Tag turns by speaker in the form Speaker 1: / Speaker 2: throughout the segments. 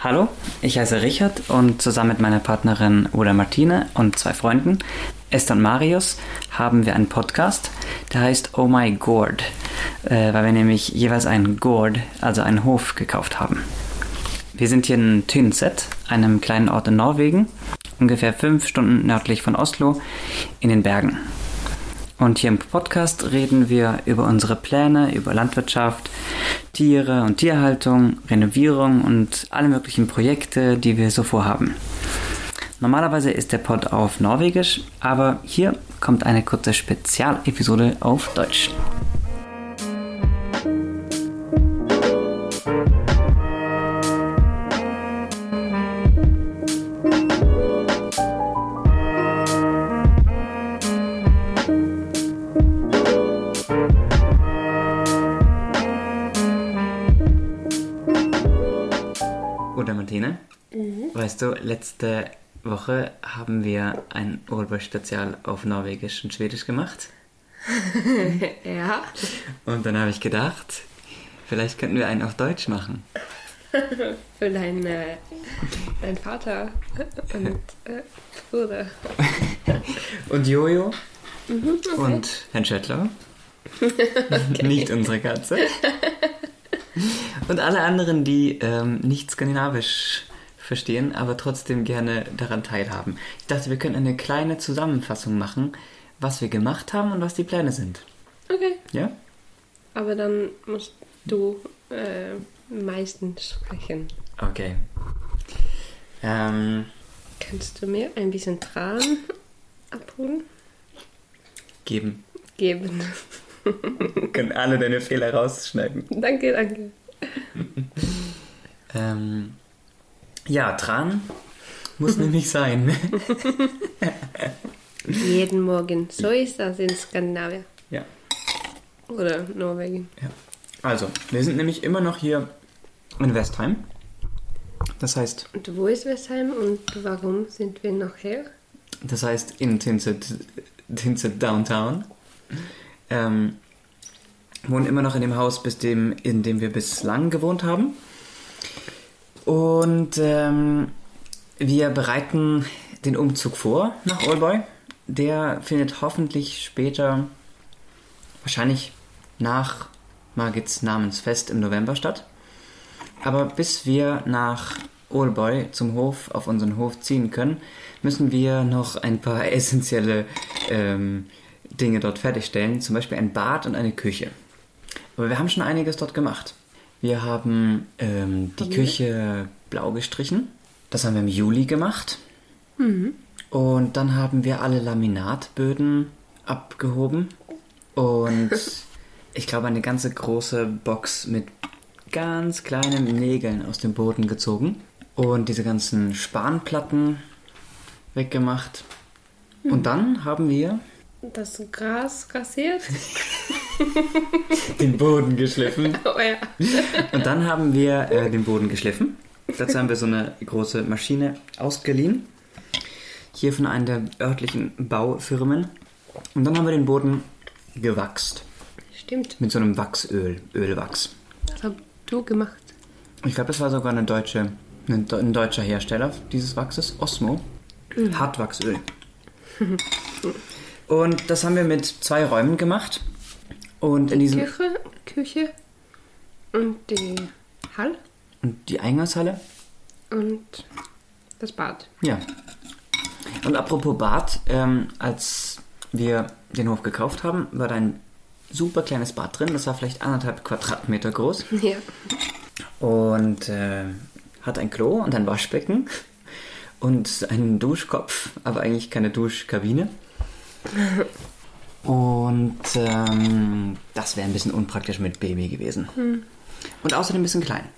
Speaker 1: Hallo, ich heiße Richard und zusammen mit meiner Partnerin Ola Martine und zwei Freunden, Esther und Marius, haben wir einen Podcast, der heißt Oh My Gourd, äh, weil wir nämlich jeweils einen Gourd, also einen Hof, gekauft haben. Wir sind hier in Tynset, einem kleinen Ort in Norwegen, ungefähr fünf Stunden nördlich von Oslo, in den Bergen. Und hier im Podcast reden wir über unsere Pläne, über Landwirtschaft, Tiere und Tierhaltung, Renovierung und alle möglichen Projekte, die wir so vorhaben. Normalerweise ist der Pod auf Norwegisch, aber hier kommt eine kurze Spezialepisode auf Deutsch. Oder Martine, weißt du, letzte Woche haben wir ein Urlaubsspezial auf Norwegisch und Schwedisch gemacht.
Speaker 2: Ja.
Speaker 1: Und dann habe ich gedacht, vielleicht könnten wir einen auf Deutsch machen.
Speaker 2: Für deinen äh, dein Vater und äh, Bruder.
Speaker 1: Und Jojo und Herrn Schöttler. Nicht unsere Katze. Und alle anderen, die ähm, nicht skandinavisch verstehen, aber trotzdem gerne daran teilhaben. Ich dachte, wir könnten eine kleine Zusammenfassung machen, was wir gemacht haben und was die Pläne sind.
Speaker 2: Okay.
Speaker 1: Ja?
Speaker 2: Aber dann musst du äh, meistens sprechen.
Speaker 1: Okay. Ähm,
Speaker 2: Kannst du mir ein bisschen Tran abholen?
Speaker 1: geben.
Speaker 2: Geben.
Speaker 1: Können alle deine Fehler rausschneiden.
Speaker 2: danke, danke.
Speaker 1: Ähm, ja, Tran muss nämlich sein.
Speaker 2: Jeden Morgen. So ist das in Skandinavien.
Speaker 1: ja.
Speaker 2: Oder Norwegen.
Speaker 1: Ja. Also, wir sind nämlich immer noch hier in Westheim. Das heißt,
Speaker 2: Und wo ist Westheim und warum sind wir noch hier?
Speaker 1: das heißt in Tinset, Tinset Downtown. Ähm, wohnen immer noch in dem Haus, bis dem, in dem wir bislang gewohnt haben. Und ähm, wir bereiten den Umzug vor nach Olboy. Der findet hoffentlich später, wahrscheinlich nach Margits Namensfest im November statt. Aber bis wir nach Olboy zum Hof, auf unseren Hof ziehen können, müssen wir noch ein paar essentielle ähm, Dinge dort fertigstellen. Zum Beispiel ein Bad und eine Küche. Aber wir haben schon einiges dort gemacht. Wir haben ähm, die Küche blau gestrichen. Das haben wir im Juli gemacht. Und dann haben wir alle Laminatböden abgehoben. Und ich glaube, eine ganze große Box mit ganz kleinen Nägeln aus dem Boden gezogen. Und diese ganzen Spanplatten weggemacht. Und dann haben wir
Speaker 2: Das Gras rasiert?
Speaker 1: den Boden geschliffen.
Speaker 2: Oh ja.
Speaker 1: Und dann haben wir äh, den Boden geschliffen. Dazu haben wir so eine große Maschine ausgeliehen. Hier von einer der örtlichen Baufirmen. Und dann haben wir den Boden gewachst.
Speaker 2: Stimmt.
Speaker 1: Mit so einem Wachsöl, Ölwachs.
Speaker 2: Das hast du gemacht.
Speaker 1: Ich glaube, es war sogar eine deutsche, ein, deu- ein deutscher Hersteller dieses Wachses, Osmo. Hartwachsöl. Und das haben wir mit zwei Räumen gemacht. Und in diesem.
Speaker 2: Küche, Küche und die Hall
Speaker 1: Und die Eingangshalle?
Speaker 2: und das Bad.
Speaker 1: Ja. Und apropos Bad, ähm, als wir den Hof gekauft haben, war da ein super kleines Bad drin. Das war vielleicht anderthalb Quadratmeter groß
Speaker 2: Ja.
Speaker 1: und äh, hat ein Klo und ein Waschbecken und einen Duschkopf, aber eigentlich keine Duschkabine. Und ähm, das wäre ein bisschen unpraktisch mit Baby gewesen. Und außerdem ein bisschen klein.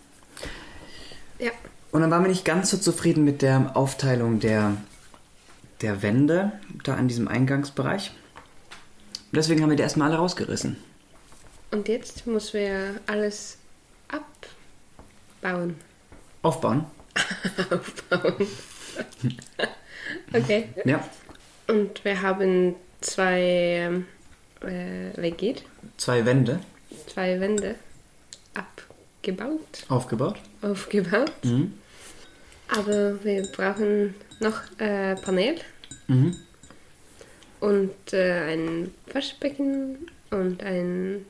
Speaker 2: Ja.
Speaker 1: Und dann waren wir nicht ganz so zufrieden mit der Aufteilung der, der Wände da an diesem Eingangsbereich. Und deswegen haben wir die erstmal alle rausgerissen.
Speaker 2: Und jetzt müssen wir alles abbauen.
Speaker 1: Aufbauen.
Speaker 2: Okay.
Speaker 1: Ja.
Speaker 2: Und wir haben zwei ähm, äh, wie geht?
Speaker 1: Zwei Wände
Speaker 2: Zwei Wände abgebaut,
Speaker 1: aufgebaut. Mhm.
Speaker 2: aufgebaut. Aber wir brauchen noch äh, Panel
Speaker 1: Mhm.
Speaker 2: und äh, ein Waschbecken und ein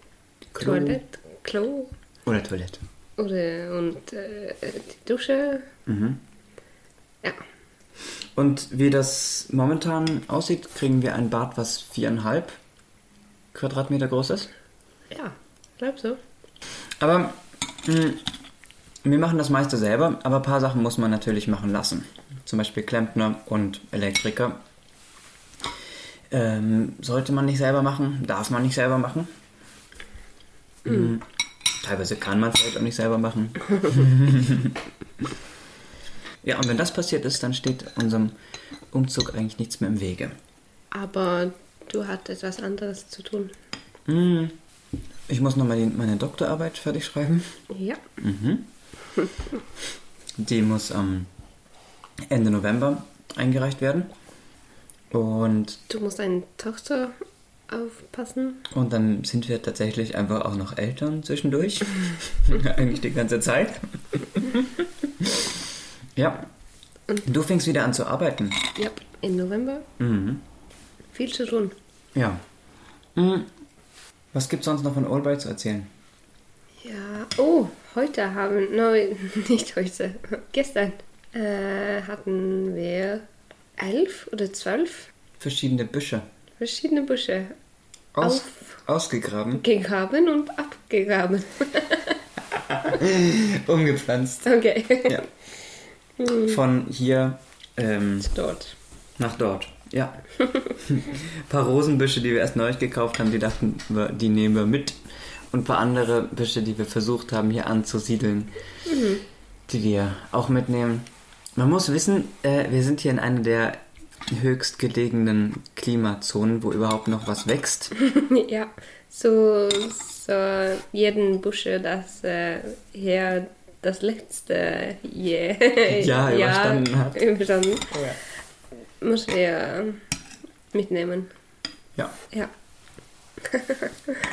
Speaker 1: Klo.
Speaker 2: Toilett, Klo
Speaker 1: Oder Toilette.
Speaker 2: oder, und äh, die Dusche.
Speaker 1: Mhm.
Speaker 2: Ja,
Speaker 1: Und wie das momentan aussieht, kriegen wir ein Bad, was viereinhalb Quadratmeter groß ist.
Speaker 2: ja, glaub so.
Speaker 1: Aber mh, wir machen das meiste selber, aber ein paar Sachen muss man natürlich machen lassen. Zum Beispiel Klempner und Elektriker. Ähm, sollte man nicht selber machen, darf man nicht selber machen. Mhm. Teilweise kann man es vielleicht auch nicht selber machen. ja, und wenn das passiert ist, dann steht unserem Umzug eigentlich nichts mehr im Wege.
Speaker 2: Aber du hattest was anderes zu tun.
Speaker 1: Hm, Ich muss nochmal meine Doktorarbeit fertig schreiben.
Speaker 2: Ja,
Speaker 1: Die muss am Ende November eingereicht werden. Und,
Speaker 2: du musst eine Tochter aufpassen.
Speaker 1: und dann sind wir tatsächlich einfach auch noch Eltern zwischendurch. Eigentlich die ganze Zeit. ja. Du fängst wieder an zu arbeiten.
Speaker 2: Ja, im November.
Speaker 1: Mhm.
Speaker 2: Viel zu tun.
Speaker 1: Ja. Hm. Was gibt's sonst noch von Albright zu erzählen?
Speaker 2: Ja, oh, heute haben, nein, nicht heute, gestern äh, hatten wir elf oder zwölf
Speaker 1: Verschiedene Büsche.
Speaker 2: verschiedene Büsche
Speaker 1: Aus,
Speaker 2: Auf.
Speaker 1: ausgegraben,
Speaker 2: gegraben und abgegraben.
Speaker 1: umgepflanzt.
Speaker 2: Okay,
Speaker 1: Ja. Von hier ähm,
Speaker 2: dort.
Speaker 1: Nach dort, ja. ein paar Rosenbüsche, die wir erst neulich gekauft haben, die dachten wir, die nehmen wir mit. Und ein paar andere Büsche, die wir versucht haben, hier anzusiedeln, die wir auch mitnehmen. Man muss wissen, äh, wir sind hier in einer der höchstgelegenen Klimazonen, wo überhaupt noch was wächst.
Speaker 2: ja, so, so jeden Busche, das äh, hier das letzte Jahr,
Speaker 1: Ja, überstanden hat. Oh
Speaker 2: überstanden, muss wir mitnehmen.
Speaker 1: Ja,
Speaker 2: Ja,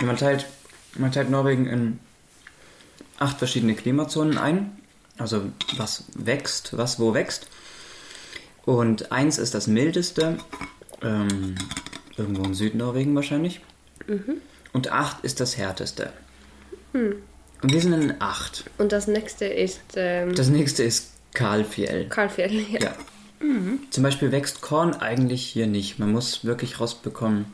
Speaker 1: man teilt, man teilt Norwegen in acht verschiedene Klimazonen ein. Also was wächst, was wo wächst. Und eins ist das mildeste, ähm, irgendwo in Südnorwegen wahrscheinlich. Und acht ist das härteste. Und wir sind in acht.
Speaker 2: und das nächste ist ähm,
Speaker 1: Das nächste ist Karlfjell.
Speaker 2: Karlfjell. Ja.
Speaker 1: Ja. Zum Beispiel wächst Korn eigentlich hier nicht. Man muss wirklich rausbekommen,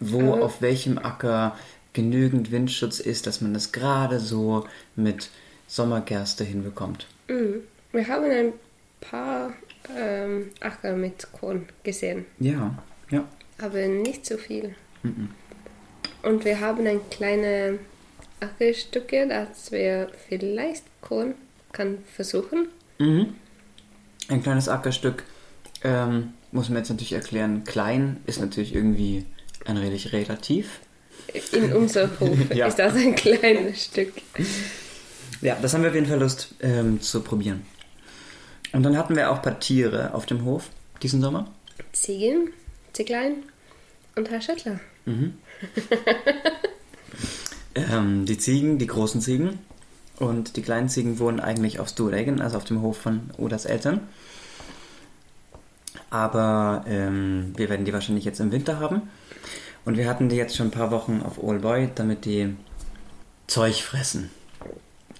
Speaker 1: wo auf welchem Acker genügend Windschutz ist, dass man das gerade so mit Sommergerste hinbekommt.
Speaker 2: Mhm. Wir haben ein paar ähm, Acker mit Korn gesehen,
Speaker 1: Ja, ja.
Speaker 2: aber nicht so viel. Und wir haben ein kleine Ackerstücke, dass wir vielleicht Korn kann versuchen.
Speaker 1: Ein kleines Ackerstück ähm, muss man jetzt natürlich erklären. Klein ist natürlich irgendwie ein relativ relativ.
Speaker 2: In unserem Hof
Speaker 1: Ja.
Speaker 2: ist das ein kleines Stück.
Speaker 1: Ja, das haben wir auf jeden Fall Lust ähm, zu probieren. Und dann hatten wir auch ein paar Tiere auf dem Hof diesen Sommer.
Speaker 2: Ziegen, Zieglein und Herr Schettler.
Speaker 1: Ähm, die Ziegen, die großen Ziegen und die kleinen Ziegen wohnen eigentlich auf Sturegen, also auf dem Hof von Odas Eltern. Aber ähm, wir werden die wahrscheinlich jetzt im Winter haben. Und wir hatten die jetzt schon ein paar Wochen auf Allboy, damit die Zeug fressen.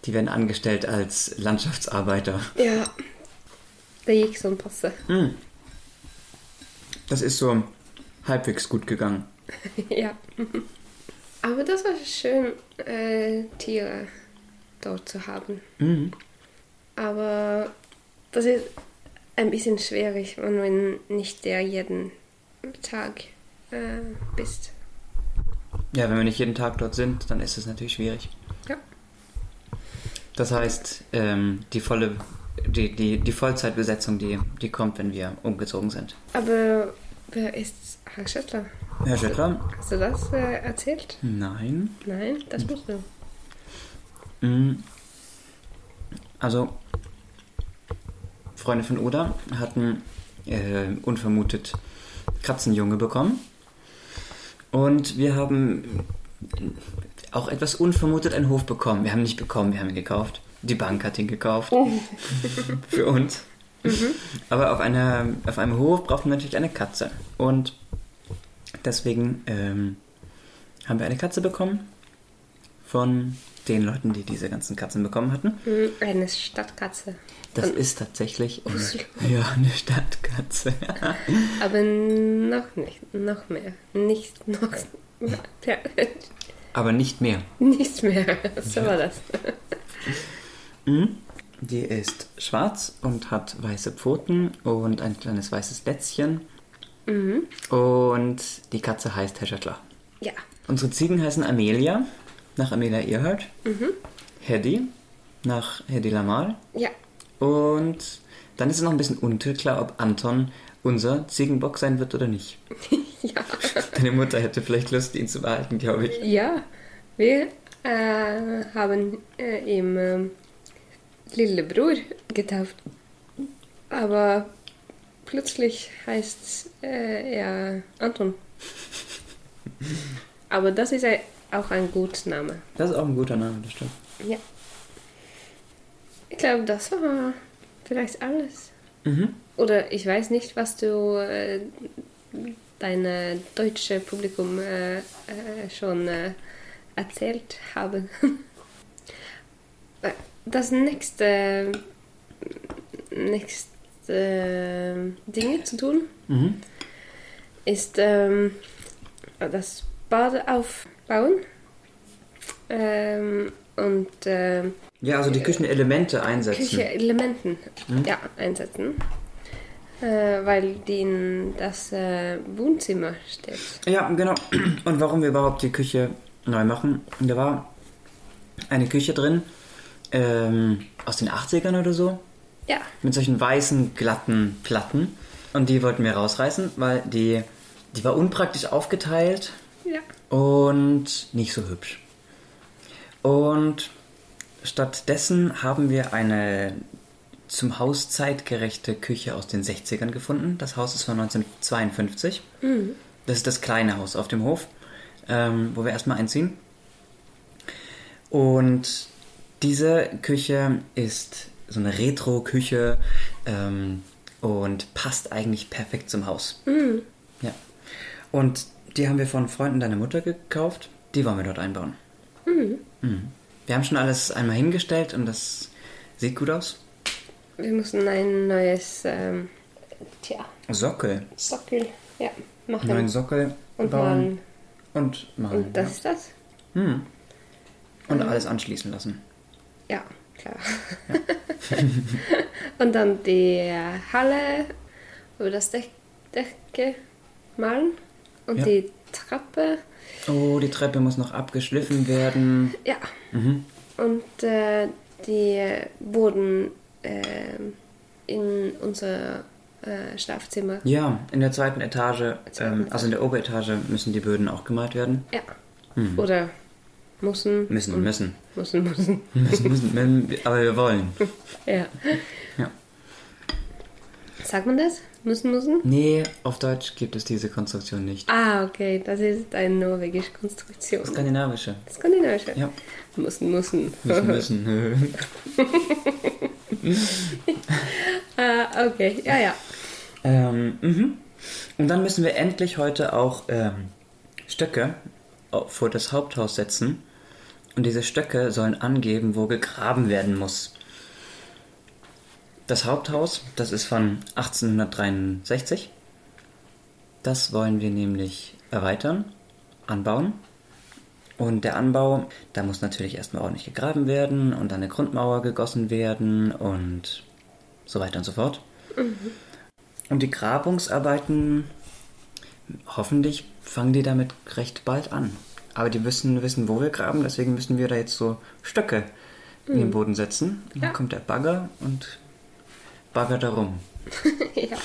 Speaker 1: Die werden angestellt als Landschaftsarbeiter.
Speaker 2: Ja, der Jägson passe.
Speaker 1: Das ist so halbwegs gut gegangen.
Speaker 2: Ja. Aber das war schön, äh, Tiere dort zu haben. Aber das ist ein bisschen schwierig, wenn man nicht der jeden Tag äh, bist.
Speaker 1: Ja, wenn wir nicht jeden Tag dort sind, dann ist es natürlich schwierig.
Speaker 2: Ja.
Speaker 1: Das heißt, ähm, die volle, die, die, die Vollzeitbesetzung, die, die kommt, wenn wir umgezogen sind.
Speaker 2: Aber wer ist Herr Schöttler?
Speaker 1: Herr Schöttler?
Speaker 2: Hast du das äh, erzählt?
Speaker 1: Nein.
Speaker 2: Nein, das musst du.
Speaker 1: Mm. Also, Freunde von Oda hatten äh, unvermutet Katzenjunge bekommen. Und wir haben auch etwas unvermutet einen Hof bekommen. Wir haben ihn nicht bekommen, wir haben ihn gekauft. Die Bank hat ihn gekauft. Für uns. Aber auf, einer, auf einem Hof braucht man natürlich eine Katze. Und deswegen ähm, haben wir eine Katze bekommen von den Leuten, die diese ganzen Katzen bekommen hatten.
Speaker 2: Mhm, Eine Stadtkatze.
Speaker 1: Das ist tatsächlich eine,
Speaker 2: Oslo.
Speaker 1: ja, eine Stadtkatze.
Speaker 2: Aber noch nicht, noch mehr. Nicht noch. Ja,
Speaker 1: Aber nicht mehr.
Speaker 2: nichts mehr. So war das.
Speaker 1: Die ist schwarz und hat weiße Pfoten und ein kleines weißes Lätzchen. Und die Katze heißt Heschettler.
Speaker 2: Ja.
Speaker 1: Unsere Ziegen heißen Amelia, nach Amelia Earhart. Hedy, nach Hedy Lamal.
Speaker 2: Ja.
Speaker 1: Und dann ist es noch ein bisschen unklar, ob Anton unser Ziegenbock sein wird oder nicht.
Speaker 2: Ja.
Speaker 1: Deine Mutter hätte vielleicht Lust, ihn zu behalten, glaube ich.
Speaker 2: Ja. Wir äh, haben äh, ihm ähm, Lillebror getauft. Aber plötzlich heißt äh, er Anton. Aber das ist ein- auch ein guter Name.
Speaker 1: Das ist auch ein guter Name, das stimmt.
Speaker 2: Ja. Ich glaube, das war vielleicht alles. Oder ich weiß nicht, was du äh, deine deutsche Publikum äh, äh, schon äh, erzählt haben. Das nächste, nächste Dinge zu tun
Speaker 1: Mhm.
Speaker 2: ist ähm, das Bad aufbauen ähm, und ähm,
Speaker 1: Ja, also die Küchenelemente einsetzen. Mhm.
Speaker 2: Küche Elementen ja, einsetzen, äh, weil die in das äh, Wohnzimmer steht.
Speaker 1: Ja, genau. Und warum wir überhaupt die Küche neu machen. Da war eine Küche drin, ähm, aus den 80ern oder so,
Speaker 2: Ja,
Speaker 1: mit solchen weißen, glatten Platten. Und die wollten wir rausreißen, weil die, die war unpraktisch aufgeteilt
Speaker 2: ja,
Speaker 1: und nicht so hübsch. Und stattdessen haben wir eine zum Haus zeitgerechte Küche aus den 60ern gefunden. Das Haus ist von 1952. Das ist das kleine Haus auf dem Hof, ähm, wo wir erstmal einziehen. Und diese Küche ist so eine Retro-Küche ähm, und passt eigentlich perfekt zum Haus. Ja. Und die haben wir von Freunden deiner Mutter gekauft. Die wollen wir dort einbauen. Mhm. Wir haben schon alles einmal hingestellt und das sieht gut aus.
Speaker 2: wir müssen ein neues ähm, tja,
Speaker 1: Sockel.
Speaker 2: Sockel ja, machen.
Speaker 1: Neuen Sockel
Speaker 2: und
Speaker 1: bauen
Speaker 2: malen.
Speaker 1: und malen.
Speaker 2: Und das mhm. ist das?
Speaker 1: ja. und alles anschließen lassen.
Speaker 2: Ja, klar. und dann die äh, Halle über das Dech Decke malen und
Speaker 1: Ja.
Speaker 2: die Treppe.
Speaker 1: Oh, die Treppe muss noch abgeschliffen werden.
Speaker 2: Ja.
Speaker 1: Mhm.
Speaker 2: Und äh, die Boden äh, in unser äh, Schlafzimmer.
Speaker 1: Ja, in der zweiten Etage,
Speaker 2: Zweiten
Speaker 1: ähm, also in der Oberetage, müssen die Böden auch gemalt werden.
Speaker 2: Ja. Oder
Speaker 1: Mhm.
Speaker 2: müssen.
Speaker 1: Müssen, müssen.
Speaker 2: Müssen, müssen.
Speaker 1: müssen, müssen. Aber wir wollen.
Speaker 2: Ja.
Speaker 1: Ja.
Speaker 2: Sagt man das? Müssen, müssen?
Speaker 1: Nee, auf Deutsch gibt es diese Konstruktion nicht.
Speaker 2: Ah, okay. Das ist eine norwegische Konstruktion.
Speaker 1: Skandinavische.
Speaker 2: Skandinavische.
Speaker 1: Ja.
Speaker 2: Müssen, müssen.
Speaker 1: Müssen, müssen.
Speaker 2: ah, okay. Ja, ja.
Speaker 1: Ähm, mhm. Und dann müssen wir endlich heute auch ähm, Stöcke au- vor das Haupthaus setzen. Und diese Stöcke sollen angeben, wo gegraben werden muss. Das Haupthaus, das ist von 1863. Das wollen wir nämlich erweitern, anbauen. Und der Anbau, da muss natürlich erstmal ordentlich gegraben werden und dann eine Grundmauer gegossen werden und so weiter und so fort. Und die Grabungsarbeiten, hoffentlich fangen die damit recht bald an. Aber die müssen wissen, wo wir graben, deswegen müssen wir da jetzt so Stöcke in den Boden setzen. Und Dann
Speaker 2: Mhm. Ja.
Speaker 1: kommt der Bagger und baggert da rum.
Speaker 2: ja.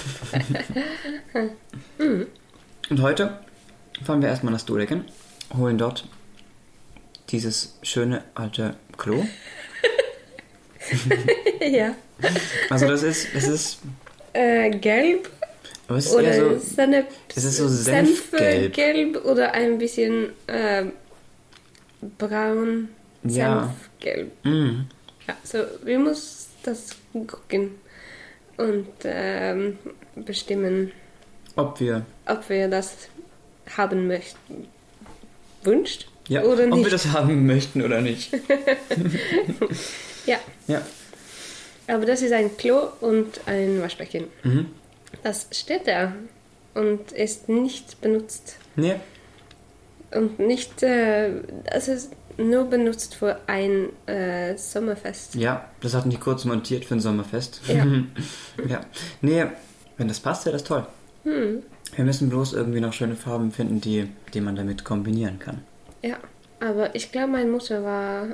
Speaker 2: Mhm.
Speaker 1: Und heute fahren wir erstmal nach Dudecken, holen dort dieses schöne alte Klo.
Speaker 2: ja.
Speaker 1: Also das ist, das ist,
Speaker 2: Äh, gelb
Speaker 1: aber es ist
Speaker 2: oder
Speaker 1: eher so,
Speaker 2: Senf,
Speaker 1: es Also, ist so senfgelb.
Speaker 2: gelb oder ein bisschen äh, braun.
Speaker 1: Ja.
Speaker 2: Senfgelb.
Speaker 1: mm,
Speaker 2: Ja, so, wir müssen das gucken. und ähm, bestimmen,
Speaker 1: Ob wir.
Speaker 2: ob wir das haben möchten. Wünscht
Speaker 1: Ja,
Speaker 2: oder
Speaker 1: ob wir
Speaker 2: nicht.
Speaker 1: das haben möchten oder nicht.
Speaker 2: Ja,
Speaker 1: Ja.
Speaker 2: aber das ist ein Klo und ein Waschbecken.
Speaker 1: Mhm.
Speaker 2: Das steht da und ist nicht benutzt.
Speaker 1: Nee.
Speaker 2: Und nicht, äh, das ist nur benutzt für ein äh, Sommerfest.
Speaker 1: Ja, das hatten die kurz montiert für ein Sommerfest.
Speaker 2: Ja.
Speaker 1: ja. Nee, wenn das passt, wäre das toll.
Speaker 2: Hm.
Speaker 1: Wir müssen bloß irgendwie noch schöne Farben finden, die, die man damit kombinieren kann.
Speaker 2: Ja, aber ich glaube, meine Mutter war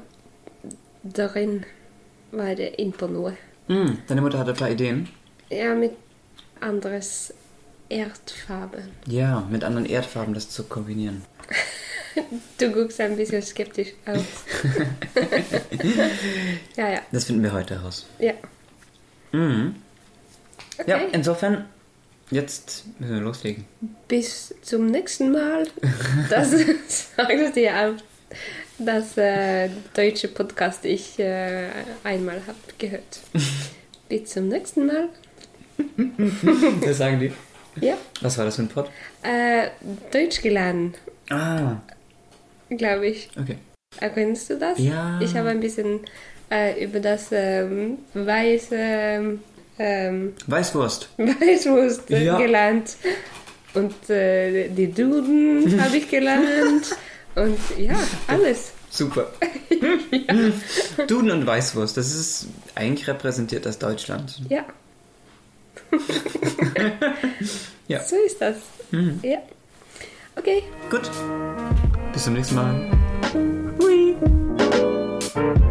Speaker 2: darin, war der Imponur.
Speaker 1: Hm, deine Mutter hatte ein paar Ideen.
Speaker 2: Ja, mit anderes Erdfarben.
Speaker 1: Ja, mit anderen Erdfarben das zu kombinieren.
Speaker 2: Du guckst ein bisschen skeptisch aus. ja, ja,
Speaker 1: Das finden wir heute heraus.
Speaker 2: ja.
Speaker 1: Mhm. Ja,
Speaker 2: Okay,
Speaker 1: insofern, jetzt müssen wir loslegen.
Speaker 2: bis zum nächsten Mal. Das sagt dir auch das äh, deutsche Podcast, ich äh, einmal habe gehört. Bis zum nächsten Mal.
Speaker 1: Das sagen die.
Speaker 2: Ja,
Speaker 1: Was war das für ein Pod?
Speaker 2: äh, Deutsch gelernt,
Speaker 1: Ah,
Speaker 2: glaube ich.
Speaker 1: okay.
Speaker 2: Erkennst du das?
Speaker 1: Ja.
Speaker 2: Ich habe ein bisschen äh, über das ähm, weiße ähm, ähm,
Speaker 1: Weißwurst.
Speaker 2: Weißwurst
Speaker 1: Ja.
Speaker 2: gelernt. Und äh, die Duden habe ich gelernt. Und ja, alles.
Speaker 1: Super. Duden und Weißwurst, das ist eigentlich repräsentiert das Deutschland.
Speaker 2: Ja.
Speaker 1: Ja.
Speaker 2: So ist das. Ja. Okay.
Speaker 1: Gut. Bis zum nächsten Mal.
Speaker 2: Hui.